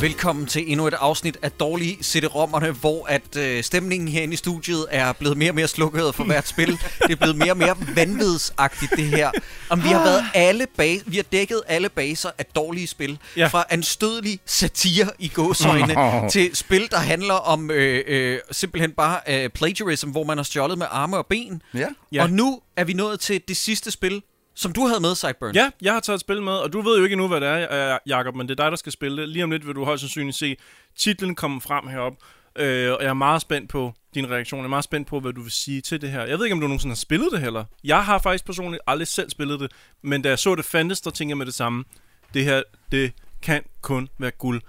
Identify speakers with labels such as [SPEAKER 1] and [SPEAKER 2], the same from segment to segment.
[SPEAKER 1] Velkommen til endnu et afsnit af Dårlige CD-rommerne, hvor at øh, stemningen herinde i studiet er blevet mere og mere slukket for hvert spil. Det er blevet mere og mere vanvidsagtigt, det her. Om vi har været alle base, vi har dækket alle baser af dårlige spil. Ja.
[SPEAKER 2] Ja.
[SPEAKER 1] Fra anstødelig satire i gåsøjne til spil, der handler om øh, øh, simpelthen bare øh, plagiarism, hvor man har stjålet med arme og ben.
[SPEAKER 3] Ja.
[SPEAKER 2] Ja.
[SPEAKER 1] Og nu er vi nået til det sidste spil, som du havde med, Sideburn.
[SPEAKER 2] Ja, jeg har taget et spil med, og du ved jo ikke endnu, hvad det er, øh, Jakob, men det er dig, der skal spille det. Lige om lidt vil du højst sandsynligt se titlen komme frem herop, øh, og jeg er meget spændt på din reaktion. Jeg er meget spændt på, hvad du vil sige til det her. Jeg ved ikke, om du nogensinde har spillet det heller. Jeg har faktisk personligt aldrig selv spillet det, men da jeg så det fandtes, der tænkte jeg med det samme. Det her, det kan kun være guld.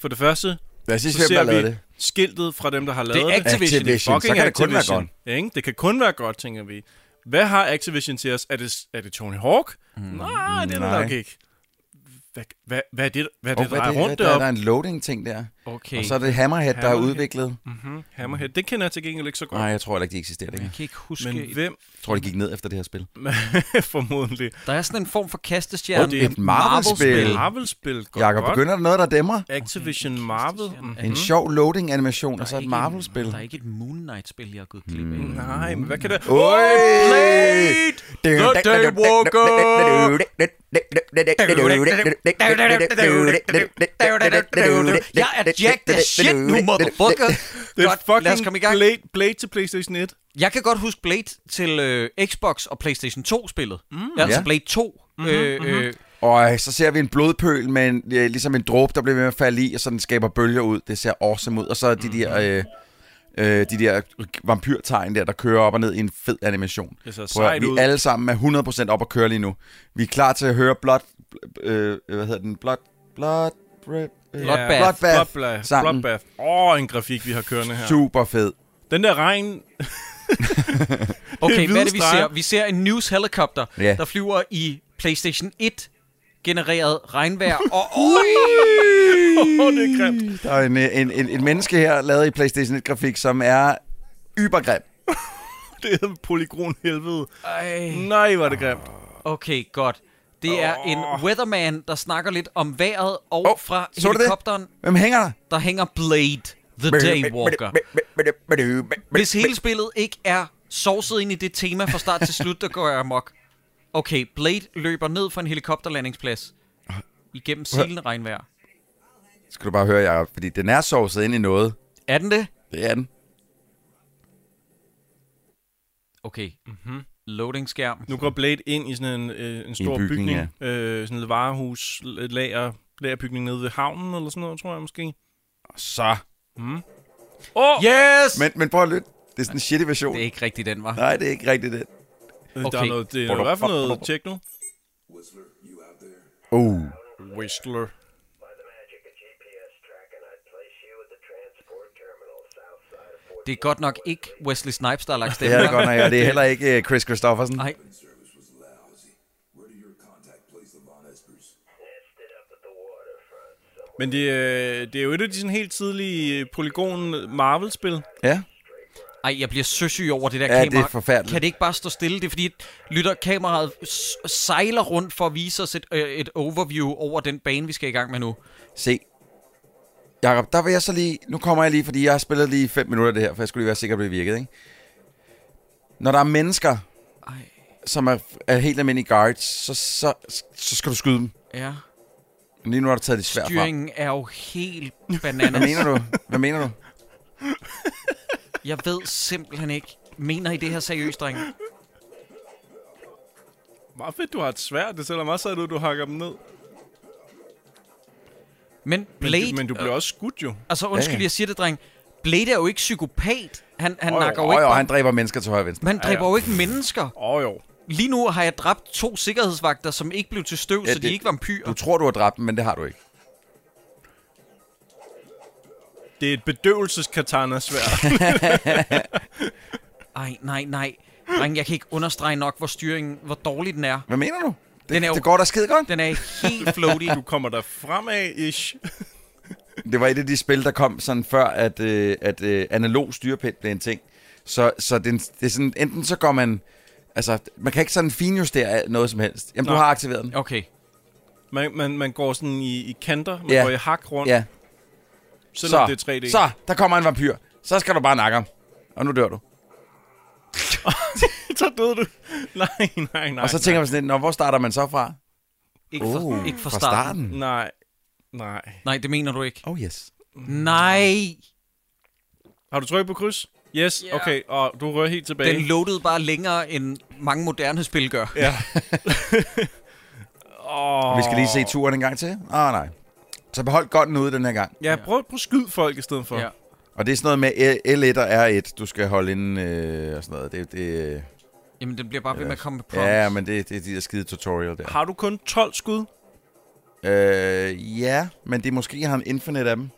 [SPEAKER 2] For det første,
[SPEAKER 3] Lad os lige
[SPEAKER 2] så
[SPEAKER 3] se, hvem
[SPEAKER 2] ser vi
[SPEAKER 3] der har lavet det.
[SPEAKER 2] skiltet fra dem, der har lavet
[SPEAKER 1] Det er
[SPEAKER 2] det.
[SPEAKER 1] Activision.
[SPEAKER 3] Activision. Så kan det kun være godt.
[SPEAKER 2] Ja, ikke? Det kan kun være godt, tænker vi. Hvad har Activision til os? Er det, er det Tony Hawk? Mm, nej, det er det
[SPEAKER 3] Hmm, nej.
[SPEAKER 2] nok ikke. Hvad, hvad, hvad er det, hvad er
[SPEAKER 3] Åh,
[SPEAKER 2] det,
[SPEAKER 3] hvad
[SPEAKER 2] der
[SPEAKER 3] er
[SPEAKER 2] er
[SPEAKER 3] det?
[SPEAKER 2] rundt
[SPEAKER 3] Der, der er
[SPEAKER 2] deroppe?
[SPEAKER 3] en loading-ting der.
[SPEAKER 1] Okay.
[SPEAKER 3] Og så er det Hammerhead, der er
[SPEAKER 2] Hammerhead.
[SPEAKER 3] udviklet.
[SPEAKER 2] Mhm, Hammerhead. Det kender jeg til gengæld ikke så godt.
[SPEAKER 3] Nej, jeg tror heller ikke, de eksisterer
[SPEAKER 1] Jeg
[SPEAKER 3] længere.
[SPEAKER 1] kan ikke huske...
[SPEAKER 2] Men hvem?
[SPEAKER 3] Jeg tror, de gik ned efter det her spil.
[SPEAKER 2] Formodentlig.
[SPEAKER 1] Der er sådan en form for kastestjerne.
[SPEAKER 2] Og det er
[SPEAKER 3] et
[SPEAKER 1] Marvel-spil.
[SPEAKER 3] Marvel-spil.
[SPEAKER 2] Marvel-spil. Godt,
[SPEAKER 3] Jakob,
[SPEAKER 2] godt.
[SPEAKER 3] begynder der noget, der dæmmer?
[SPEAKER 2] Activision Marvel. Mm.
[SPEAKER 3] En sjov loading-animation, og
[SPEAKER 1] Der er
[SPEAKER 3] så et
[SPEAKER 1] ikke en-
[SPEAKER 3] Marvel-spil.
[SPEAKER 1] Der er ikke et Moon Knight-spil, jeg er gået glip af.
[SPEAKER 2] Mm. Nej, men hvad kan det...
[SPEAKER 3] Oj!
[SPEAKER 2] Blade! The Daywalker!
[SPEAKER 1] Jeg er Jack the shit nu, motherfucker.
[SPEAKER 2] Det er
[SPEAKER 1] Godt, lad os
[SPEAKER 2] fucking
[SPEAKER 1] komme i gang.
[SPEAKER 2] Blade, Blade til PlayStation 1.
[SPEAKER 1] Jeg kan godt huske Blade til øh, Xbox og PlayStation 2-spillet. Mm. Altså
[SPEAKER 3] Ja.
[SPEAKER 1] Blade 2. Øh, øh,
[SPEAKER 3] Og så ser vi en blodpøl med en, øh, ligesom en dråbe, der bliver ved med at falde i, og så den skaber bølger ud. Det ser awesome ud. Og så er de der,
[SPEAKER 2] Mhm.
[SPEAKER 3] øh, øh, de der vampyrtegn der, der kører op og ned i en fed animation.
[SPEAKER 2] Det ser
[SPEAKER 3] Prøv at, høre,
[SPEAKER 2] sejt
[SPEAKER 3] vi
[SPEAKER 2] ud.
[SPEAKER 3] alle sammen er 100% op at køre lige nu. Vi er klar til at høre Blood... Øh, hvad hedder den? Blood... Blood... Øh,
[SPEAKER 1] Bloodbath.
[SPEAKER 3] Bloodbath.
[SPEAKER 2] Bloodbath.
[SPEAKER 3] sammen.
[SPEAKER 2] Bloodbath. Åh, en grafik, vi har kørende her.
[SPEAKER 3] Super fed.
[SPEAKER 2] Den der regn...
[SPEAKER 1] okay,
[SPEAKER 2] hvide
[SPEAKER 1] hvad er det, vi
[SPEAKER 2] streger.
[SPEAKER 1] ser? Vi ser en news helicopter,
[SPEAKER 3] Ja.
[SPEAKER 1] der flyver i PlayStation 1 genereret regnvejr. Og oj,
[SPEAKER 2] Åh, oh, det er grimt.
[SPEAKER 3] Der er en, øh, en, en, en menneske her, lavet i PlayStation 1-grafik, som er ybergrim.
[SPEAKER 2] Det er polygon helvede.
[SPEAKER 1] ej.
[SPEAKER 2] Nej, var det grimt.
[SPEAKER 1] Okay, godt. Det er en weatherman, der snakker lidt om vejret, og oh,
[SPEAKER 3] Åh,
[SPEAKER 1] fra
[SPEAKER 3] så du det?
[SPEAKER 1] helikopteren,
[SPEAKER 3] Hvem hænger der?
[SPEAKER 1] der hænger Blade, The Daywalker. Hvis hele spillet ikke er sovset ind i det tema fra start til slut, der går jeg amok. Okay, Blade løber ned fra en helikopterlandingsplads igennem silende regnvejr.
[SPEAKER 3] Skal du bare høre, Jacob, fordi den er sovset ind i noget.
[SPEAKER 1] Er den det?
[SPEAKER 3] Det er den.
[SPEAKER 1] Okay. Mm-hmm. Loading-skærm.
[SPEAKER 2] Nu går Blade ind i sådan en, øh, en stor
[SPEAKER 3] I en bygning,
[SPEAKER 2] bygning. Øh, sådan et varehus, et lager, lagerbygning nede ved havnen, eller sådan noget, tror jeg måske. Øh,
[SPEAKER 3] Så.
[SPEAKER 2] Åh! Oh,
[SPEAKER 1] Yes! Men...
[SPEAKER 3] Men, men prøv at lytte. Det er sådan en shitty version.
[SPEAKER 1] Det er ikke rigtigt den, var.
[SPEAKER 3] Nej, det er ikke rigtigt det.
[SPEAKER 2] okay. Der er
[SPEAKER 1] Okay.
[SPEAKER 2] noget, det er i hvert fald noget techno.
[SPEAKER 3] Uh.
[SPEAKER 2] Whistler.
[SPEAKER 4] By the magic of GPS tracking, I'd place you at the transport terminal south side of Fort.
[SPEAKER 1] Det er godt nok ikke Wesley Snipes, der har lagt
[SPEAKER 3] Det
[SPEAKER 1] stemmen.
[SPEAKER 3] er det godt nok, og det er heller ikke øh, Chris Christoffersen.
[SPEAKER 1] Nej,
[SPEAKER 5] service was lousy. Where did your contact place the Von Espers?
[SPEAKER 4] Nested up at the waterfront. Some
[SPEAKER 2] Men det, øh, det er jo et af de sådan helt tidlige øh, polygon Marvel-spil.
[SPEAKER 3] Ja.
[SPEAKER 1] Ej, jeg bliver søsyg over det der
[SPEAKER 3] Ja, det er
[SPEAKER 1] kamera.
[SPEAKER 3] forfærdeligt.
[SPEAKER 1] Kan det ikke bare stå stille? Det er fordi, at lytter kameraet s- sejler rundt for at vise os et, øh, et overview over den bane, vi skal i gang med nu.
[SPEAKER 3] Se. Jakob, der vil jeg så lige... Nu kommer jeg lige, fordi jeg har spillet lige 5 minutter af det her, for jeg skulle lige være sikker på, at det virkede, ikke? Når der er mennesker,
[SPEAKER 1] Ej,
[SPEAKER 3] som er, er helt almindelige guards, så, så, så skal du skyde dem.
[SPEAKER 1] ja.
[SPEAKER 3] Men Lige nu har du taget det svært fra.
[SPEAKER 1] Styringen er jo helt
[SPEAKER 3] Hvad
[SPEAKER 1] bananas.
[SPEAKER 3] mener du? Hvad mener du?
[SPEAKER 1] Jeg ved simpelthen ikke. Mener I det her seriøst, drenge?
[SPEAKER 2] Meget fedt, du har et svært. Det sælger meget sejt ud, du hakker dem ned.
[SPEAKER 1] Men Blade...
[SPEAKER 2] Men, du, men du bliver også skudt jo.
[SPEAKER 1] Altså, undskyld,
[SPEAKER 3] Ja, ja.
[SPEAKER 1] jeg siger det, dreng. Blade er jo ikke psykopat. Han, han
[SPEAKER 2] Åh, jo,
[SPEAKER 1] nakker jo
[SPEAKER 3] Åh,
[SPEAKER 1] ikke...
[SPEAKER 3] jo,
[SPEAKER 1] bare-
[SPEAKER 3] han dræber mennesker til højre og venstre.
[SPEAKER 1] han dræber
[SPEAKER 2] ja.
[SPEAKER 1] jo ikke mennesker.
[SPEAKER 2] Åh oh, jo.
[SPEAKER 1] Lige nu har jeg dræbt to sikkerhedsvagter, som ikke blev til støv,
[SPEAKER 3] Ja,
[SPEAKER 1] så de er
[SPEAKER 3] det-
[SPEAKER 1] ikke vampyrer.
[SPEAKER 3] Du tror, du har dræbt dem, men det har du ikke.
[SPEAKER 2] Det er et bedøvelseskatana-svær.
[SPEAKER 1] Ej, nej, nej. Dreng, jeg kan ikke understrege nok, hvor styringen, hvor dårlig den er.
[SPEAKER 3] Hvad mener du? Det,
[SPEAKER 1] Den er jo-
[SPEAKER 3] det går da skide godt.
[SPEAKER 1] Den er helt floaty.
[SPEAKER 2] du kommer der fremad, ish.
[SPEAKER 3] Det var et af de spil, der kom sådan før, at, øh, at øh, analog styrepind blev en ting. Så, så den, det er sådan, enten så går man... Altså, man kan ikke sådan finjustere noget som helst. Jamen, du
[SPEAKER 2] Nej.
[SPEAKER 3] har aktiveret den.
[SPEAKER 1] Okay.
[SPEAKER 2] Man, man, man går sådan i, i kanter, man
[SPEAKER 3] Ja.
[SPEAKER 2] går i hak rundt.
[SPEAKER 3] Ja.
[SPEAKER 2] Selvom det er 3D.
[SPEAKER 3] Så, der kommer en vampyr. Så skal du bare nakke ham. Og nu dør du.
[SPEAKER 2] så døde du. Nej, nej, nej.
[SPEAKER 3] Og så tænker man sådan lidt, "Nå, hvor starter man så fra?
[SPEAKER 1] Ikke fra,
[SPEAKER 3] Uh,
[SPEAKER 1] ikke fra
[SPEAKER 3] fra
[SPEAKER 1] starten.
[SPEAKER 3] starten.
[SPEAKER 2] Nej. Nej.
[SPEAKER 1] Nej, det mener du ikke.
[SPEAKER 3] Oh yes.
[SPEAKER 1] Nej,
[SPEAKER 2] Har du trykket på kryds? Yes, yeah. okay. Og du rører helt tilbage.
[SPEAKER 1] den loadede bare længere, end mange moderne spil gør.
[SPEAKER 2] ja.
[SPEAKER 3] Oh. Vi skal lige se turen en gang til. Åh oh, nej. Så behold godt ude den her gang.
[SPEAKER 2] ja, prøv, prøv at skyde folk i stedet for.
[SPEAKER 1] Ja.
[SPEAKER 3] Og det er sådan noget med L1 og R1, du skal holde inden øh, og sådan noget. Det, det,
[SPEAKER 1] Jamen, den bliver bare ved med at komme med prompts.
[SPEAKER 3] ja, men det, det er de der skide tutorial der.
[SPEAKER 2] Har du kun 12 skud?
[SPEAKER 3] Øh, ja, men det er måske, han har en infinite af dem.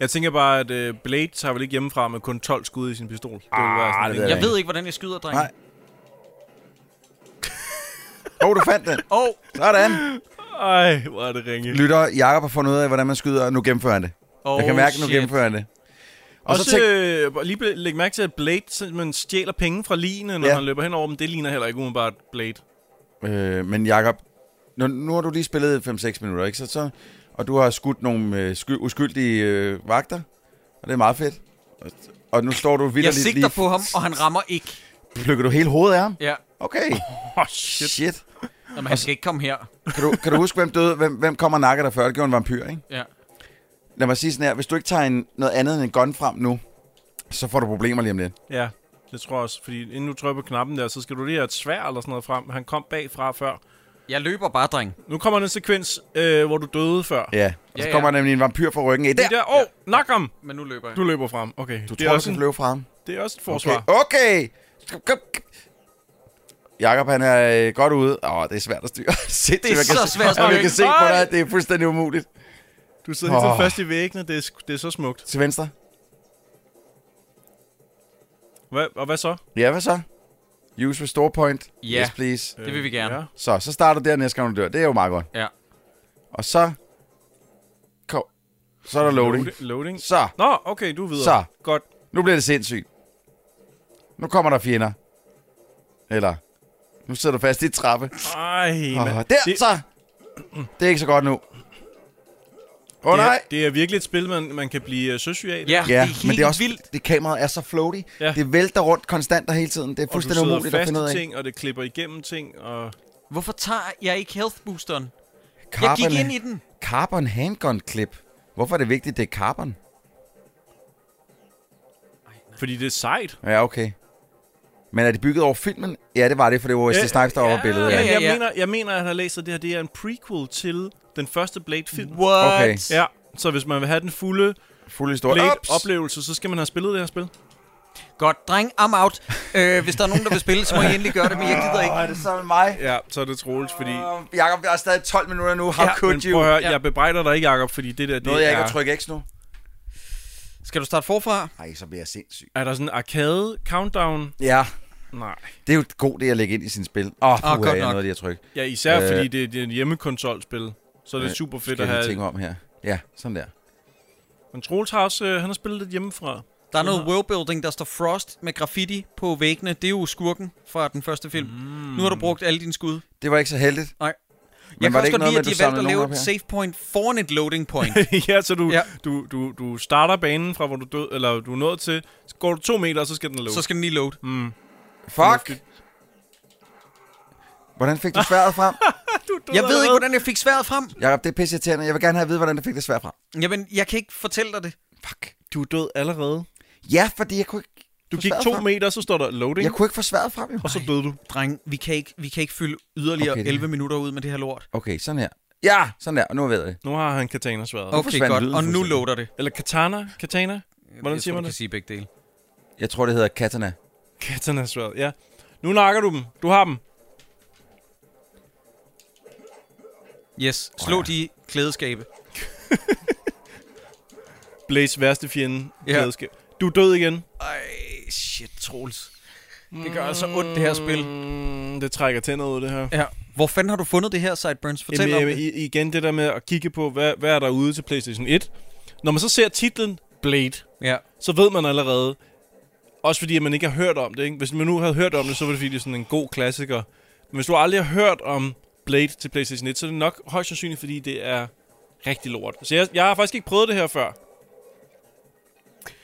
[SPEAKER 2] Jeg tænker bare, at øh, Blade tager vel ikke hjemmefra med kun 12 skud i sin pistol. Det ville være
[SPEAKER 3] Ah,
[SPEAKER 2] sådan,
[SPEAKER 3] det
[SPEAKER 2] ikke?
[SPEAKER 3] ved
[SPEAKER 1] Jeg ved ikke, hvordan jeg skyder, dreng.
[SPEAKER 3] Nej. Åh, oh, du fandt den.
[SPEAKER 1] Åh, oh,
[SPEAKER 3] Sådan.
[SPEAKER 2] Ej, hvor er det ringe.
[SPEAKER 3] Lytter, Jacob har fundet ud af, hvordan man skyder, og nu gennemfører han det.
[SPEAKER 1] oh,
[SPEAKER 3] jeg kan mærke,
[SPEAKER 1] shit.
[SPEAKER 3] nu gennemfører han det. Og
[SPEAKER 2] Også,
[SPEAKER 3] så tænk,
[SPEAKER 2] øh, bare lige bl- læg mærke til, at Blade simpelthen stjæler penge fra ligene, når
[SPEAKER 3] Ja.
[SPEAKER 2] ja. han løber hen over dem. Det ligner heller ikke umiddelbart Blade.
[SPEAKER 3] Øh, men Jakob, nu, nu har du lige spillet 5-6 minutter, ikke? Så, så, og du har skudt nogle øh, sky, uskyldige øh, vagter, og det er meget fedt. Og, og nu står du vildt
[SPEAKER 1] Jeg sigter på ham, og han rammer ikke.
[SPEAKER 3] Plukker du hele hovedet af ham?
[SPEAKER 1] Ja.
[SPEAKER 3] Okay,
[SPEAKER 2] Åh, oh, shit.
[SPEAKER 3] shit.
[SPEAKER 1] Jamen, han skal ikke komme her.
[SPEAKER 3] Kan du, kan du huske, hvem døde, hvem, hvem kommer og nakker dig før? Det gjorde en vampyr, ikke?
[SPEAKER 1] Ja.
[SPEAKER 3] Lad mig sige sådan her, hvis du ikke tager en, noget andet end en gun frem nu, så får du problemer lige om lidt.
[SPEAKER 2] Ja, det tror jeg også. Fordi inden du trykker på knappen der, så skal du lige have et svær eller sådan noget frem. Han kom bagfra før.
[SPEAKER 1] Jeg løber bare, dreng.
[SPEAKER 2] Nu kommer den sekvens, øh, hvor du døde før.
[SPEAKER 3] Ja, og
[SPEAKER 1] Ja,
[SPEAKER 3] så
[SPEAKER 1] ja.
[SPEAKER 3] kommer nemlig en vampyr fra ryggen af. Der!
[SPEAKER 2] Det der, åh, oh, nak ham!
[SPEAKER 1] Men nu løber jeg.
[SPEAKER 2] Du løber frem. Okay,
[SPEAKER 3] Du
[SPEAKER 2] det,
[SPEAKER 3] tror,
[SPEAKER 2] er
[SPEAKER 3] du
[SPEAKER 2] også
[SPEAKER 3] skal
[SPEAKER 2] en,
[SPEAKER 3] løbe fra ham.
[SPEAKER 2] det er også et
[SPEAKER 3] Okay.
[SPEAKER 2] forsvar.
[SPEAKER 3] okay. Kom, kom, kom. Jakob, han er øh, godt ude. Åh, det er svært at styre. Sindssygt,
[SPEAKER 1] Det er
[SPEAKER 3] man kan
[SPEAKER 1] så
[SPEAKER 3] se-
[SPEAKER 1] svært at
[SPEAKER 3] Man
[SPEAKER 1] styre.
[SPEAKER 3] kan se på dig, at det er fuldstændig umuligt.
[SPEAKER 2] Du sidder helt
[SPEAKER 3] Åh.
[SPEAKER 2] oh. fast i væggene, det er, sk- det er så smukt.
[SPEAKER 3] Til venstre.
[SPEAKER 2] Hva, og hvad så?
[SPEAKER 3] Ja, hvad så? Use restore point.
[SPEAKER 1] Ja.
[SPEAKER 3] Yes, please.
[SPEAKER 1] Det vil vi gerne.
[SPEAKER 2] Ja.
[SPEAKER 3] Så, så starter du der næste gang, du dør. Det er jo meget godt.
[SPEAKER 1] Ja.
[SPEAKER 3] Og så... Kom. Så er der loading.
[SPEAKER 2] Loading. Loading.
[SPEAKER 3] Så,
[SPEAKER 2] Nå, okay, du er videre.
[SPEAKER 3] Så.
[SPEAKER 2] Godt.
[SPEAKER 3] nu bliver det sindssygt. Nu kommer der fjender. Eller... Nu sidder du fast i et trappe.
[SPEAKER 2] Ej,
[SPEAKER 3] Åh,
[SPEAKER 2] mand.
[SPEAKER 3] der
[SPEAKER 2] det,
[SPEAKER 3] så! Det er ikke så godt nu. Åh oh,
[SPEAKER 2] det,
[SPEAKER 3] nej!
[SPEAKER 2] er, det er virkelig et spil, man, man kan blive uh, søsyg af.
[SPEAKER 1] Ja,
[SPEAKER 3] Ja,
[SPEAKER 1] det er helt
[SPEAKER 3] men det er også
[SPEAKER 1] vildt.
[SPEAKER 3] Det kameraet er så floaty. Ja.
[SPEAKER 2] Ja.
[SPEAKER 3] Det vælter rundt konstant og hele tiden. Det er
[SPEAKER 2] og du
[SPEAKER 3] fuldstændig
[SPEAKER 2] sidder
[SPEAKER 3] umuligt at
[SPEAKER 2] fast
[SPEAKER 3] finde ud
[SPEAKER 2] i
[SPEAKER 3] af.
[SPEAKER 2] ting, og det klipper igennem ting, og...
[SPEAKER 1] Hvorfor tager jeg ikke health boosteren? Jeg
[SPEAKER 3] Carbon,
[SPEAKER 1] gik ind i den.
[SPEAKER 3] carbon handgun clip. Hvorfor er det vigtigt, det er carbon?
[SPEAKER 2] Fordi det er sejt.
[SPEAKER 3] Ja, okay. Men er det bygget over filmen? Ja, det var det, for det var Wesley Snipes, der var på billedet.
[SPEAKER 2] ja,
[SPEAKER 3] Ja.
[SPEAKER 2] ja,
[SPEAKER 1] ja.
[SPEAKER 2] Jeg, mener, jeg mener, at jeg har læst, at det her det er en prequel til den første Blade-film.
[SPEAKER 1] What?
[SPEAKER 3] Okay.
[SPEAKER 2] Ja, så hvis man vil have den fulde
[SPEAKER 3] Fuld historie. Ups.
[SPEAKER 2] Blade-oplevelse, så skal man have spillet det her spil.
[SPEAKER 1] Godt, dreng, I'm out. Øh, hvis der er nogen, der vil spille, så må I endelig gøre det, men jeg gider ikke.
[SPEAKER 3] Åh, er det så med mig?
[SPEAKER 2] Ja, så er det troligt, fordi...
[SPEAKER 3] Åh, Jakob, der er stadig 12 minutter nu. How
[SPEAKER 1] Ja,
[SPEAKER 3] could
[SPEAKER 2] Men
[SPEAKER 3] you?
[SPEAKER 2] prøv at høre,
[SPEAKER 1] Ja.
[SPEAKER 2] jeg bebrejder dig ikke, Jacob, fordi det der, det
[SPEAKER 3] Noget, jeg ikke
[SPEAKER 2] er...
[SPEAKER 3] at trykke X nu?
[SPEAKER 1] Skal du starte forfra?
[SPEAKER 3] Nej, så bliver jeg sindssyg.
[SPEAKER 2] Er der sådan en arcade countdown?
[SPEAKER 3] Ja,
[SPEAKER 2] Nej.
[SPEAKER 3] det er jo et god det at lægge ind i sin spil. Åh, oh, puha,
[SPEAKER 1] Ah, godt
[SPEAKER 3] jeg
[SPEAKER 1] nok.
[SPEAKER 3] nåede lige at trykke.
[SPEAKER 2] Ja, især
[SPEAKER 3] Øh.
[SPEAKER 2] øh, fordi det, det er en hjemmekonsolspil. Så er det
[SPEAKER 3] Øh,
[SPEAKER 2] super fedt
[SPEAKER 3] Skal
[SPEAKER 2] at
[SPEAKER 3] jeg lige
[SPEAKER 2] have.
[SPEAKER 3] tænke om her? Ja, sådan der.
[SPEAKER 2] Men Troels har også, øh, han har spillet lidt hjemmefra.
[SPEAKER 1] Der er noget worldbuilding, der står Frost med graffiti på væggene. Det er jo skurken fra den første film. Mm. Nu har du brugt alle dine skud.
[SPEAKER 3] Det var ikke så heldigt.
[SPEAKER 1] Nej.
[SPEAKER 3] var
[SPEAKER 1] jeg kan
[SPEAKER 3] det
[SPEAKER 1] også
[SPEAKER 3] ikke
[SPEAKER 1] godt
[SPEAKER 3] noget
[SPEAKER 1] lide,
[SPEAKER 3] med,
[SPEAKER 1] at de
[SPEAKER 3] at du
[SPEAKER 1] har valgt at
[SPEAKER 3] samlede
[SPEAKER 1] lave
[SPEAKER 3] nogen
[SPEAKER 1] et
[SPEAKER 3] op her?
[SPEAKER 1] save point foran et loading point.
[SPEAKER 2] ja, så du,
[SPEAKER 1] Ja.
[SPEAKER 2] ja. Du, du, du starter banen fra, hvor du død, eller du er nået til. Så Går du to meter, så skal den låse.
[SPEAKER 1] så skal den lige load. Mm.
[SPEAKER 3] Fuck! Hvordan fik du sværet frem?
[SPEAKER 1] Jeg ved ikke, hvordan jeg fik sværet frem.
[SPEAKER 3] Jakob, det er pisse irriterende. Jeg vil gerne have at vide, hvordan du fik det svært frem.
[SPEAKER 1] Jamen, jeg kan ikke fortælle dig det.
[SPEAKER 3] Fuck.
[SPEAKER 2] Du er død allerede.
[SPEAKER 3] Ja, fordi jeg kunne ikke...
[SPEAKER 2] Du
[SPEAKER 3] få
[SPEAKER 2] gik
[SPEAKER 3] sværet
[SPEAKER 2] to
[SPEAKER 3] frem.
[SPEAKER 2] meter, så står der loading,
[SPEAKER 3] Jeg kunne ikke få sværet frem, jo.
[SPEAKER 2] og så døde du.
[SPEAKER 1] Dreng, vi kan ikke, vi kan ikke fylde yderligere
[SPEAKER 3] Okay, det-
[SPEAKER 1] 11 minutter ud med det her lort.
[SPEAKER 3] Okay, sådan her. Ja, sådan der. Og nu ved jeg det.
[SPEAKER 2] Nu har han katana-sværet. Okay.
[SPEAKER 1] Okay,
[SPEAKER 3] forsvandt
[SPEAKER 1] godt.
[SPEAKER 3] lyden
[SPEAKER 1] Og nu
[SPEAKER 3] fuldstændig.
[SPEAKER 1] loader det.
[SPEAKER 2] Eller katana? Katana? Hvordan
[SPEAKER 1] jeg
[SPEAKER 2] siger
[SPEAKER 1] tror,
[SPEAKER 2] man
[SPEAKER 1] du kan
[SPEAKER 2] det?
[SPEAKER 1] sige begge dele.
[SPEAKER 3] Jeg tror, det hedder Katana.
[SPEAKER 2] Katana-sværet, ja. Nu nakker du dem. Du har dem.
[SPEAKER 1] Yes, slå de klædeskabe.
[SPEAKER 2] Blaze værste fjende.
[SPEAKER 1] Ja.
[SPEAKER 2] Ja. Du er død igen.
[SPEAKER 1] Ej, shit, Troels. Det gør altså ondt, det her spil.
[SPEAKER 2] Mm, det trækker tænder ud, det her.
[SPEAKER 1] Ja. Hvor fanden har du fundet det her, Sideburns? Fortæl
[SPEAKER 2] Jamen,
[SPEAKER 1] om
[SPEAKER 2] jamen,
[SPEAKER 1] det.
[SPEAKER 2] i- igen det der med at kigge på, hvad, hvad er der ude til PlayStation 1. Når man så ser titlen Blade,
[SPEAKER 1] Ja.
[SPEAKER 2] så ved man allerede, også fordi at man ikke har hørt om det. Ikke? Hvis man nu havde hørt om det, så var det fordi, det er sådan en god klassiker. Men hvis du aldrig har hørt om Blade til PlayStation 1, så er det nok højst sandsynligt, fordi det er rigtig lort. Så jeg, jeg har faktisk ikke prøvet det her før.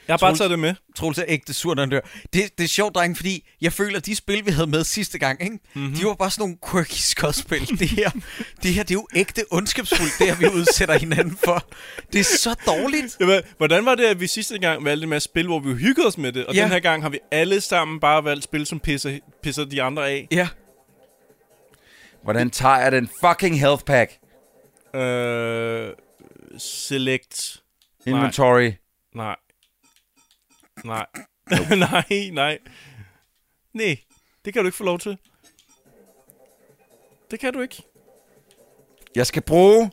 [SPEAKER 2] Jeg har bare
[SPEAKER 1] Troels-
[SPEAKER 2] taget det med.
[SPEAKER 1] Troels er ægte sur, når han dør. Det, det er sjovt, dreng, fordi jeg føler, at de spil, vi havde med sidste gang, ikke? Mm-hmm. de var bare sådan nogle quirky skodspil. Det her, det her det er jo ægte ondskabsfuldt, det her, vi udsætter hinanden for. Det er så dårligt.
[SPEAKER 2] Jamen, hvordan var det, at vi sidste gang valgte en masse spil, hvor vi hyggede os med det, og
[SPEAKER 1] Ja.
[SPEAKER 2] ja. den her gang har vi alle sammen bare valgt spil, som pisser, pisser de andre af?
[SPEAKER 1] Ja.
[SPEAKER 3] Hvordan tager jeg den fucking health pack?
[SPEAKER 2] Øh, select.
[SPEAKER 3] Inventory.
[SPEAKER 2] Nej. Nej. nej, nej. Nej, det kan du ikke få lov til. Det kan du ikke.
[SPEAKER 3] Jeg skal bruge...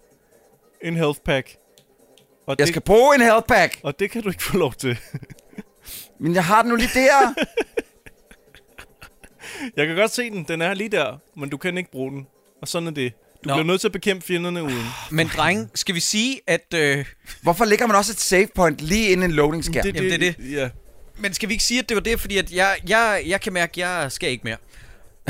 [SPEAKER 2] En health pack. Og,
[SPEAKER 3] Jeg
[SPEAKER 2] det,
[SPEAKER 3] skal bruge en health pack!
[SPEAKER 2] og det kan du ikke få lov til.
[SPEAKER 3] Men jeg har den nu lige der!
[SPEAKER 2] Jeg kan godt se den. Den er lige der, men du kan ikke bruge den. Og sådan er det. Du
[SPEAKER 1] Nå.
[SPEAKER 2] Nå. bliver nødt til at bekæmpe fjenderne uden.
[SPEAKER 1] Men dreng, skal vi sige, at... Øh,
[SPEAKER 3] Hvorfor ligger man også et save point lige inden en loading-skærm?
[SPEAKER 2] Det,
[SPEAKER 1] Jamen, det er
[SPEAKER 2] Ja.
[SPEAKER 1] men skal vi ikke sige, at det var det, fordi at jeg, jeg, jeg kan mærke, at jeg skal ikke mere.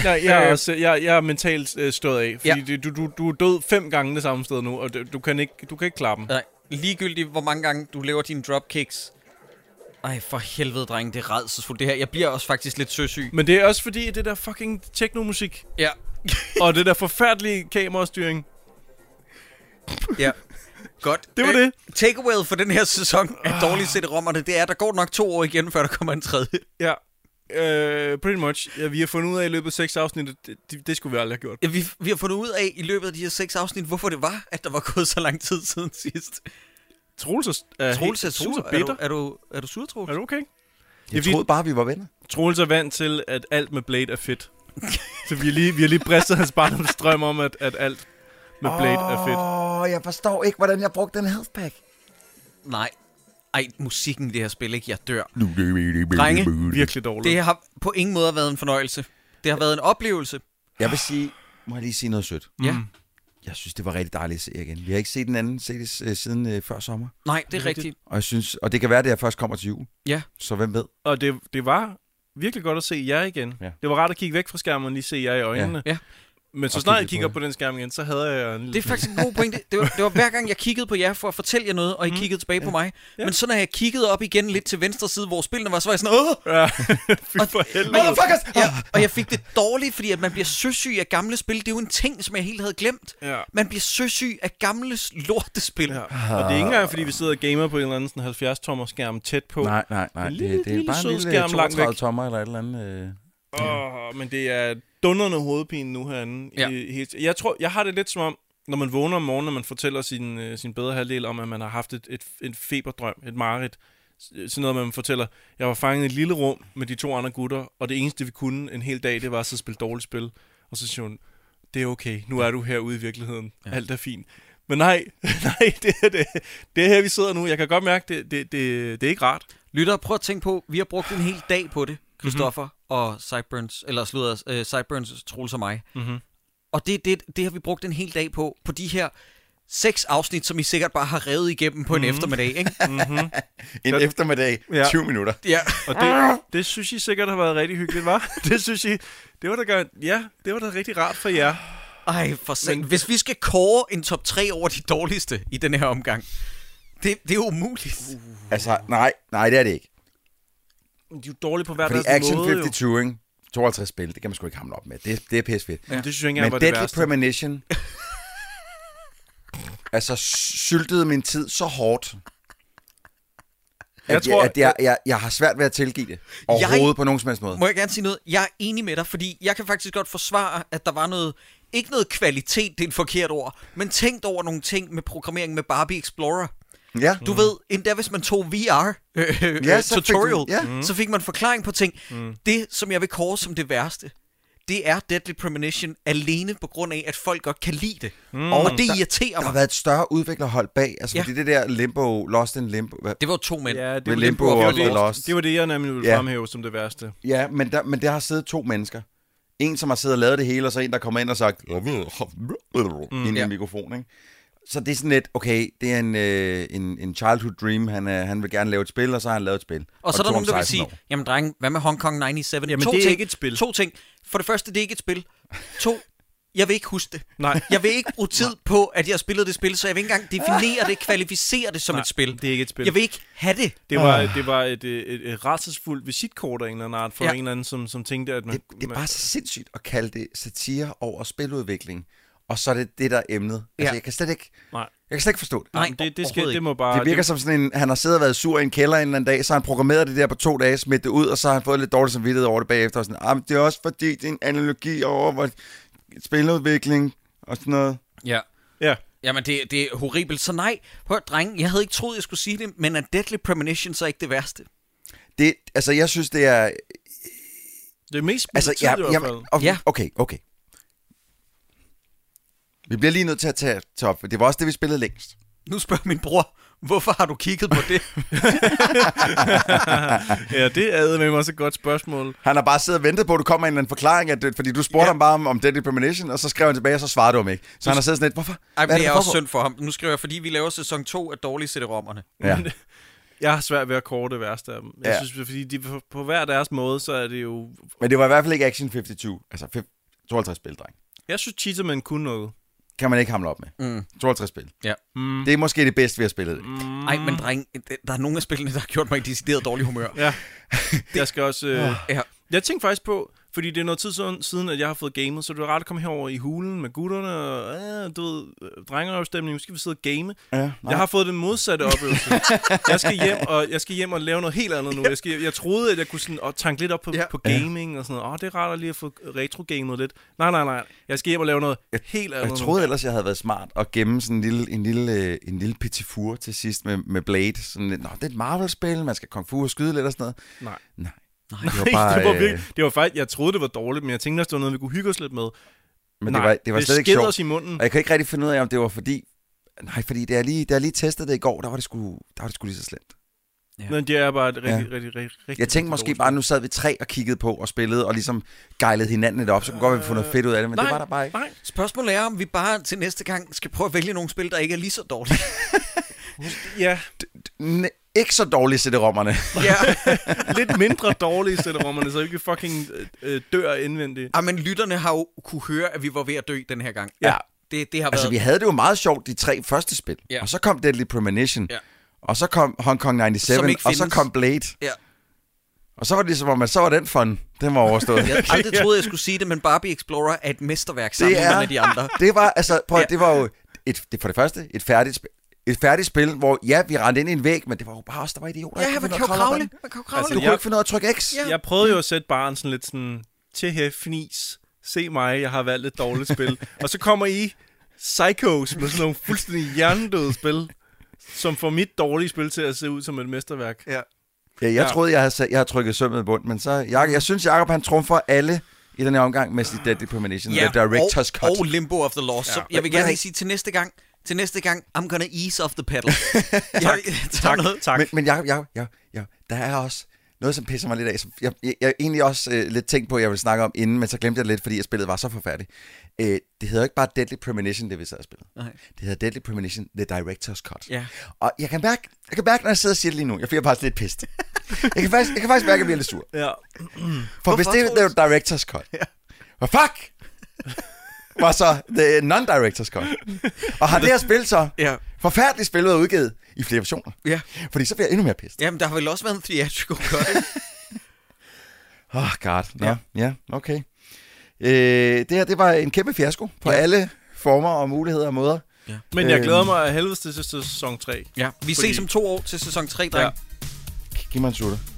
[SPEAKER 2] Jeg, jeg, er også, jeg, jeg er mentalt øh, stået af, fordi
[SPEAKER 1] Ja.
[SPEAKER 2] ja. det, du, du, du er død fem gange det samme sted nu, og du, du, kan, ikke, du kan ikke klare dem.
[SPEAKER 1] Nej, ligegyldigt hvor mange gange du laver dine dropkicks. Ej, for helvede, dreng, det er redselsfuldt det her. Jeg bliver også faktisk lidt søsyg.
[SPEAKER 2] Men det er også fordi, at det der fucking teknomusik,
[SPEAKER 1] Ja,
[SPEAKER 2] og det der forfærdelige kamerastyring,
[SPEAKER 1] ja. Godt.
[SPEAKER 2] Det var det.
[SPEAKER 1] Takeawayet for den her sæson af dårlige CD-rommerne, det er, at der går nok to år igen, før der kommer en tredje.
[SPEAKER 2] ja, øh, pretty much, ja, vi har fundet ud af i løbet af seks afsnit, at det, det, det skulle vi aldrig have gjort.
[SPEAKER 1] Ja, Vi, vi har fundet ud af i løbet af de her seks afsnit, hvorfor det var, at der var gået så lang tid siden sidst.
[SPEAKER 2] Troels er, er,
[SPEAKER 1] Troels er
[SPEAKER 2] helt- Troels
[SPEAKER 1] sur. Er
[SPEAKER 2] bitter.
[SPEAKER 1] du, er du, er du sur, Troels?
[SPEAKER 2] Er du okay?
[SPEAKER 3] Jeg
[SPEAKER 2] fordi-
[SPEAKER 3] troede bare, vi var venner.
[SPEAKER 2] Troels er vant til, at alt med Blade er fedt. Så vi har lige, vi har lige bristet hans barndomsdrøm om, at, at alt med Blade oh. er fedt.
[SPEAKER 3] Åh, oh, jeg forstår ikke, hvordan jeg brugte den health pack.
[SPEAKER 1] Nej. Ej, musikken i det her spil, ikke? Jeg dør. Drenge,
[SPEAKER 2] Virkelig dårligt.
[SPEAKER 1] det har på ingen måde været en fornøjelse. Det har været en oplevelse.
[SPEAKER 3] Jeg vil sige... Må jeg lige sige noget sødt?
[SPEAKER 1] Ja.
[SPEAKER 2] Mm.
[SPEAKER 3] Jeg synes, det var rigtig dejligt at se jer igen. Vi har ikke set den anden set, øh, siden øh, før sommer.
[SPEAKER 1] Nej, det er rigtigt.
[SPEAKER 3] Og, jeg synes, og det kan være, at jeg først kommer til jul.
[SPEAKER 1] Ja.
[SPEAKER 3] Så hvem ved?
[SPEAKER 2] Og det, det var virkelig godt at se jer igen.
[SPEAKER 3] Ja.
[SPEAKER 2] Ja. Det var rart at kigge væk fra skærmen og lige se jer i øjnene.
[SPEAKER 1] Ja. Ja.
[SPEAKER 2] Men så
[SPEAKER 3] Og
[SPEAKER 2] snart jeg
[SPEAKER 3] kigge lidt
[SPEAKER 2] kigger
[SPEAKER 3] på
[SPEAKER 2] på, den skærm igen, så havde jeg en lille...
[SPEAKER 1] Det er faktisk en god pointe. Det var, det var hver gang, jeg kiggede på jer for at fortælle jer noget, og I kiggede tilbage på mig. Men så når jeg kiggede op igen lidt til venstre side, hvor spillene var, så var jeg sådan, Åh!
[SPEAKER 2] Ja. Fy for helvede.
[SPEAKER 1] Ja, og jeg fik det dårligt, fordi at man bliver søsyg af gamle spil. Det er jo en ting, som jeg helt havde glemt.
[SPEAKER 2] Ja.
[SPEAKER 1] Man bliver søsyg af gamle lortespil. Ja.
[SPEAKER 2] Ja. Og det er ikke engang, fordi vi sidder og gamer på en eller anden sådan 70-tommer skærm tæt på.
[SPEAKER 3] Nej, nej, nej.
[SPEAKER 2] En
[SPEAKER 3] Det,
[SPEAKER 2] lille-
[SPEAKER 3] det, er
[SPEAKER 2] lille
[SPEAKER 3] bare
[SPEAKER 2] sød
[SPEAKER 3] en lille
[SPEAKER 2] skærm langt
[SPEAKER 3] 32
[SPEAKER 2] væk.
[SPEAKER 3] tommer eller et eller andet. Øh.
[SPEAKER 2] Åh, men det er dunderne hovedpine nu herinde.
[SPEAKER 1] Ja.
[SPEAKER 2] Ja. Jeg tror, jeg har det lidt som om, når man vågner om morgenen, og man fortæller sin, øh, sin bedre halvdel om, at man har haft et, et, et feberdrøm, et mareridt. S- Sådan noget, man fortæller, jeg var fanget i et lille rum med de to andre gutter, og det eneste, vi kunne en hel dag, det var at sidde og spille dårligt spil. Og så siger hun, det er okay, nu er du herude i virkeligheden. Ja. Alt er fint. Men nej, nej, det er, det, det er her, vi sidder nu. Jeg kan godt mærke, det, det, det, det er ikke rart.
[SPEAKER 1] Lytter, prøv at tænke på, vi har brugt en hel dag på det, Christoffer mm-hmm. og Sideburns, eller slutter, øh, Sideburns, Troels og mig. Mm-hmm. Og det, det, det har vi brugt en hel dag på, på de her seks afsnit, som I sikkert bare har revet igennem på en eftermiddag, ikke?
[SPEAKER 3] En eftermiddag,
[SPEAKER 2] Ja.
[SPEAKER 3] 20 minutter.
[SPEAKER 1] Ja.
[SPEAKER 2] Og det, det synes I sikkert har været rigtig hyggeligt, var? Det synes I, det var da godt, ja, det var da rigtig rart for jer.
[SPEAKER 1] Ej, for satan. Hvis vi skal kåre en top 3 over de dårligste i den her omgang, det, det er umuligt.
[SPEAKER 3] Altså, nej, nej, det er det ikke.
[SPEAKER 2] De er jo dårlige på hver
[SPEAKER 3] Fordi
[SPEAKER 2] deres
[SPEAKER 3] Action
[SPEAKER 2] måde,
[SPEAKER 3] 52, ikke? 52 spil, det kan man sgu ikke hamle op med. Det, det er pisse fedt.
[SPEAKER 2] jo. Det synes jeg ikke
[SPEAKER 3] Men
[SPEAKER 2] engang var det
[SPEAKER 3] Deadly
[SPEAKER 2] værste.
[SPEAKER 3] Premonition... altså, syltede min tid så hårdt, at, jeg, tror,
[SPEAKER 2] tror,
[SPEAKER 3] jeg, at jeg, jeg, jeg har svært ved at tilgive det. Overhovedet jeg... på nogen som helst måde.
[SPEAKER 1] Må jeg gerne sige noget? Jeg er enig med dig, fordi jeg kan faktisk godt forsvare, at der var noget... Ikke noget kvalitet, det er et forkert ord, men tænkt over nogle ting med programmering med Barbie Explorer.
[SPEAKER 3] Ja.
[SPEAKER 1] Du ved, endda hvis man tog VR øh, øh,
[SPEAKER 3] Mm. Ja,
[SPEAKER 1] ja,
[SPEAKER 3] så fik
[SPEAKER 1] tutorial,
[SPEAKER 3] du- ja. Mm.
[SPEAKER 1] ja. så fik man forklaring på ting. Mm. Det, som jeg vil kåre som det værste, det er Deadly Premonition alene på grund af, at folk godt kan lide det. Mm. Og det irriterer
[SPEAKER 3] Der har
[SPEAKER 1] mig.
[SPEAKER 3] været et større udviklerhold bag. Altså,
[SPEAKER 1] Ja.
[SPEAKER 3] ja. fordi det der Limbo, Lost in Limbo... Hvad?
[SPEAKER 1] Det var jo to mænd.
[SPEAKER 2] Ja, det
[SPEAKER 3] Med
[SPEAKER 2] var
[SPEAKER 3] Limbo
[SPEAKER 2] det,
[SPEAKER 3] og
[SPEAKER 2] det, var
[SPEAKER 3] Lost.
[SPEAKER 2] det, det var det, jeg nemlig ville
[SPEAKER 3] Ja.
[SPEAKER 2] fremhæve som det værste.
[SPEAKER 3] Ja, men der, men der har siddet to mennesker. En, som har siddet og lavet det hele, og så en, der kommer ind og sagt... Mm, ind i
[SPEAKER 1] ja.
[SPEAKER 3] en mikrofon, ikke? Så det er sådan lidt, okay, det er en, øh, en, en childhood dream. Han, øh, han vil gerne lave et spil, og så har han lavet et spil.
[SPEAKER 1] Og så er der
[SPEAKER 3] det tog
[SPEAKER 1] nogen, der
[SPEAKER 3] ham
[SPEAKER 1] vil
[SPEAKER 3] 16
[SPEAKER 1] sige,
[SPEAKER 3] år.
[SPEAKER 1] jamen drenge, hvad med Hong Kong 97?
[SPEAKER 2] Jamen,
[SPEAKER 1] to
[SPEAKER 2] det er
[SPEAKER 1] ting,
[SPEAKER 2] ikke et spil.
[SPEAKER 1] To ting. For det første, det er ikke et spil. To, Jeg vil ikke huske det.
[SPEAKER 2] Nej.
[SPEAKER 1] Jeg vil ikke bruge tid på, at jeg spillede det spil, så jeg vil ikke engang definere det, kvalificere det som
[SPEAKER 2] Nej,
[SPEAKER 1] et spil.
[SPEAKER 2] det er ikke et spil.
[SPEAKER 1] Jeg vil ikke have det.
[SPEAKER 2] Det var, det var et, øh, et, et rædselsfuldt visitkort af en eller anden art for
[SPEAKER 1] Ja.
[SPEAKER 2] ja. en eller anden, som, som tænkte, at man...
[SPEAKER 3] Det, det er
[SPEAKER 2] man-
[SPEAKER 3] bare så sindssygt at kalde det satire over spiludvikling, og så er det det, der er emnet. Altså,
[SPEAKER 1] Ja.
[SPEAKER 3] jeg kan slet ikke,
[SPEAKER 2] Nej,
[SPEAKER 3] jeg kan slet ikke forstå det.
[SPEAKER 1] Nej,
[SPEAKER 2] men det, det, skal,
[SPEAKER 1] overhovedet
[SPEAKER 2] det må bare...
[SPEAKER 3] Det virker som sådan en, han har siddet og været sur i en kælder en eller anden dag, så har han programmeret det der på to dage, smidt det ud, og så har han fået lidt dårlig samvittighed over det bagefter. Og sådan, ah, men det er også fordi, det er en analogi over hvor spiludvikling og sådan noget.
[SPEAKER 1] Ja.
[SPEAKER 2] Ja,
[SPEAKER 1] Jamen, det, det er horribelt. Så nej, hør drenge, jeg havde ikke troet, jeg skulle sige det, men at Deadly Premonition så er ikke det værste.
[SPEAKER 3] Det, altså, jeg synes, det er...
[SPEAKER 2] det er mest
[SPEAKER 3] Altså,
[SPEAKER 2] tid
[SPEAKER 3] ja,
[SPEAKER 2] i hvert
[SPEAKER 3] jamen,
[SPEAKER 2] fald.
[SPEAKER 3] okay,
[SPEAKER 1] Ja.
[SPEAKER 3] okay, okay. Vi bliver lige nødt til at tage, tage op, for det var også det, vi spillede længst.
[SPEAKER 1] Nu spørger min bror, hvorfor har du kigget på det?
[SPEAKER 2] Ja, det er med mig også et godt spørgsmål.
[SPEAKER 3] Han har bare siddet og ventet på, at du kommer med en eller anden forklaring, at, det- fordi du spurgte ja. ham bare om, om Deadly Premonition, og så skrev han tilbage, og så svarede du ham ikke. Så han har siddet sådan lidt, hvorfor?
[SPEAKER 1] Ej,
[SPEAKER 3] Hvad
[SPEAKER 1] men det
[SPEAKER 3] der
[SPEAKER 1] er også
[SPEAKER 3] foregår?"
[SPEAKER 1] synd for ham. Nu skriver jeg, fordi vi laver sæson 2 af dårlige CD-rommerne.
[SPEAKER 3] Ja.
[SPEAKER 2] Jeg har svært ved at kåre det værste af dem. Jeg
[SPEAKER 3] Ja.
[SPEAKER 2] ja. synes, det er, fordi de på- på hver deres måde, så er det jo...
[SPEAKER 3] Men det var i hvert fald ikke Action 52. Altså fem- 52 spil, dreng.
[SPEAKER 2] Jeg synes, Cheaterman kunne noget. Hmm.
[SPEAKER 3] Kan man ikke hamle op med. Mm. 52 spil.
[SPEAKER 1] Ja.
[SPEAKER 3] Mm. Det er måske det bedste, vi har spillet. Mm.
[SPEAKER 1] Nej, men dreng, det- der er nogle af spillene, der har gjort mig i decideret dårlig humør.
[SPEAKER 2] Ja. Jeg skal også... Øh...
[SPEAKER 3] Ah.
[SPEAKER 1] Ja.
[SPEAKER 2] Jeg tænkte faktisk på, fordi det er noget tid siden- siden, at jeg har fået gamet, så det er rart at komme herover i hulen med gutterne, og øh, du ved, øh, drengerøvstemning, nu skal vi sidde og game.
[SPEAKER 3] Ja, nej.
[SPEAKER 2] jeg har fået den modsatte oplevelse. jeg, skal hjem og, jeg skal hjem og lave noget helt andet nu. Jeg, skal, jeg troede, at jeg kunne sådan, og tanke lidt op på,
[SPEAKER 1] Ja.
[SPEAKER 2] ja. på gaming og sådan noget. Åh, det er rart at lige at få retrogamet lidt. Nej, nej, nej. Jeg skal hjem og lave noget helt andet
[SPEAKER 3] Jeg troede ellers, jeg havde været smart at gemme sådan en lille, en lille, øh, en lille petifur til sidst med, med Blade. Sådan lidt, Nå, det er et Marvel-spil, man skal kung fu og skyde lidt og sådan noget.
[SPEAKER 2] nu. Nej.
[SPEAKER 3] Nej.
[SPEAKER 1] Nej,
[SPEAKER 3] det
[SPEAKER 2] Nej, det var
[SPEAKER 3] øh,
[SPEAKER 2] virkelig, det var faktisk, jeg troede, det var dårligt, men jeg tænkte, at det var noget, vi kunne hygge os lidt med.
[SPEAKER 3] Men
[SPEAKER 2] Nej,
[SPEAKER 3] det var, det var
[SPEAKER 2] det
[SPEAKER 3] slet ikke
[SPEAKER 2] skeder
[SPEAKER 3] sjovt.
[SPEAKER 2] os i munden.
[SPEAKER 3] Og jeg kan ikke rigtig finde ud af, om det var fordi... Nej, fordi da jeg lige, da jeg lige testede det i går, der var det sgu, der var det sgu lige så slemt.
[SPEAKER 1] Ja.
[SPEAKER 2] Men det er bare et rigtig, ja. rigtig, rigtig, rigtig
[SPEAKER 3] Jeg tænkte
[SPEAKER 2] rigtig
[SPEAKER 3] måske
[SPEAKER 2] dårligt
[SPEAKER 3] bare, nu sad vi tre og kiggede på og spillede, og ligesom gejlede hinanden lidt op, så kunne godt være, vi få noget fedt ud af det, men
[SPEAKER 2] Nej,
[SPEAKER 3] det var der bare ikke.
[SPEAKER 2] Nej,
[SPEAKER 1] Spørgsmålet er, om vi bare til næste gang skal prøve at vælge nogle spil, der ikke er lige så dårlige.
[SPEAKER 2] ja.
[SPEAKER 3] N- ikke så dårlige CD-rommerne.
[SPEAKER 1] ja.
[SPEAKER 2] Lidt mindre dårlige sætterommerne, så vi ikke fucking øh, øh, dør indvendigt.
[SPEAKER 1] Ej, Ah, men lytterne har jo kunne høre, at vi var ved at dø den her gang.
[SPEAKER 3] Ja.
[SPEAKER 1] Det, det har
[SPEAKER 3] Altså,
[SPEAKER 1] været...
[SPEAKER 3] vi havde det jo meget sjovt, de tre første spil.
[SPEAKER 1] Ja.
[SPEAKER 3] Og så kom Deadly Premonition.
[SPEAKER 1] Ja.
[SPEAKER 3] Og så kom Hong Kong
[SPEAKER 1] Som
[SPEAKER 3] 97,
[SPEAKER 1] ikke
[SPEAKER 3] og så
[SPEAKER 1] findes.
[SPEAKER 3] kom Blade.
[SPEAKER 1] Ja.
[SPEAKER 3] Og så var det ligesom, om, at så var den fun. Den var overstået.
[SPEAKER 1] Jeg havde aldrig troet, jeg skulle sige det, men Barbie Explorer er et mesterværk
[SPEAKER 3] det
[SPEAKER 1] sammenlignet
[SPEAKER 3] er,
[SPEAKER 1] med de andre.
[SPEAKER 3] det var, altså, prøv, ja.
[SPEAKER 1] Ja.
[SPEAKER 3] det var jo et, det, for det første et færdigt spil. Et færdigt spil, hvor ja, vi rendte ind i en væg, men det var jo bare os, der var idioter.
[SPEAKER 1] Ja,
[SPEAKER 3] Ikke
[SPEAKER 1] man
[SPEAKER 3] kunne
[SPEAKER 1] kan jo
[SPEAKER 3] finde noget at
[SPEAKER 1] kravle.
[SPEAKER 3] op ad.
[SPEAKER 1] Man kan jo
[SPEAKER 3] Du
[SPEAKER 1] kravle.
[SPEAKER 3] kunne ikke finde noget at trykke X.
[SPEAKER 1] Ja.
[SPEAKER 2] Jeg prøvede jo at sætte barn sådan lidt sådan, til her, fnis, se mig, jeg har valgt et dårligt spil. og så kommer I psychos med sådan nogle fuldstændig hjernedøde spil, som får mit dårlige spil til at se ud som et mesterværk. Ja.
[SPEAKER 3] Ja, jeg
[SPEAKER 2] Ja.
[SPEAKER 3] troede, jeg havde, sat- jeg havde trykket sømmet i bund, men så... Jeg, jeg synes, Jacob han trumfer alle i den her omgang med sit Deadly Premonition. Ja, the Director's
[SPEAKER 1] og,
[SPEAKER 3] Cut.
[SPEAKER 1] og Limbo of the Lost. Ja. Så jeg vil
[SPEAKER 3] Men-
[SPEAKER 1] gerne
[SPEAKER 3] men-
[SPEAKER 1] lige sige til næste gang, til næste gang, I'm gonna ease off the pedal. tak,
[SPEAKER 2] Tak, tak.
[SPEAKER 3] Men, men Jacob, Jacob, Jacob, Jacob, der er også noget, som pisser mig lidt af, som jeg, jeg, jeg egentlig også øh, lidt tænkte på, at jeg ville snakke om inden, men så glemte jeg det lidt, fordi jeg spillet var så forfærdeligt. Øh, det hedder jo ikke bare Deadly Premonition, det vi sad og spillede.
[SPEAKER 1] Nej.
[SPEAKER 3] Det hedder Deadly Premonition, The Director's Cut.
[SPEAKER 1] Ja.
[SPEAKER 3] Og jeg kan, mærke, jeg kan mærke, når jeg sidder og siger det lige nu, jeg bliver faktisk lidt pist. jeg, kan faktisk, jeg kan faktisk mærke, at jeg bliver lidt sur.
[SPEAKER 2] ja.
[SPEAKER 3] For hvis det er The Director's Cut, hvor fuck var så The Non-Director's Cut. Og har det her spil så
[SPEAKER 1] Ja.
[SPEAKER 3] forfærdeligt spillet og udgivet i flere versioner.
[SPEAKER 1] Ja.
[SPEAKER 3] Fordi så bliver jeg endnu mere pist.
[SPEAKER 1] Jamen, der har vel også været en theatrical cut. ikke?
[SPEAKER 3] Åh, oh god. Nå, ja, ja okay. Øh, det her, det var en kæmpe fiasko på ja. alle former og muligheder og måder.
[SPEAKER 2] Men jeg
[SPEAKER 3] Øhm.
[SPEAKER 2] glæder mig af helvedes til sæson 3.
[SPEAKER 1] ja. Vi ses
[SPEAKER 2] Fordi-
[SPEAKER 1] om to år til sæson 3, dreng.
[SPEAKER 2] Ja.
[SPEAKER 3] Giv mig en sutter.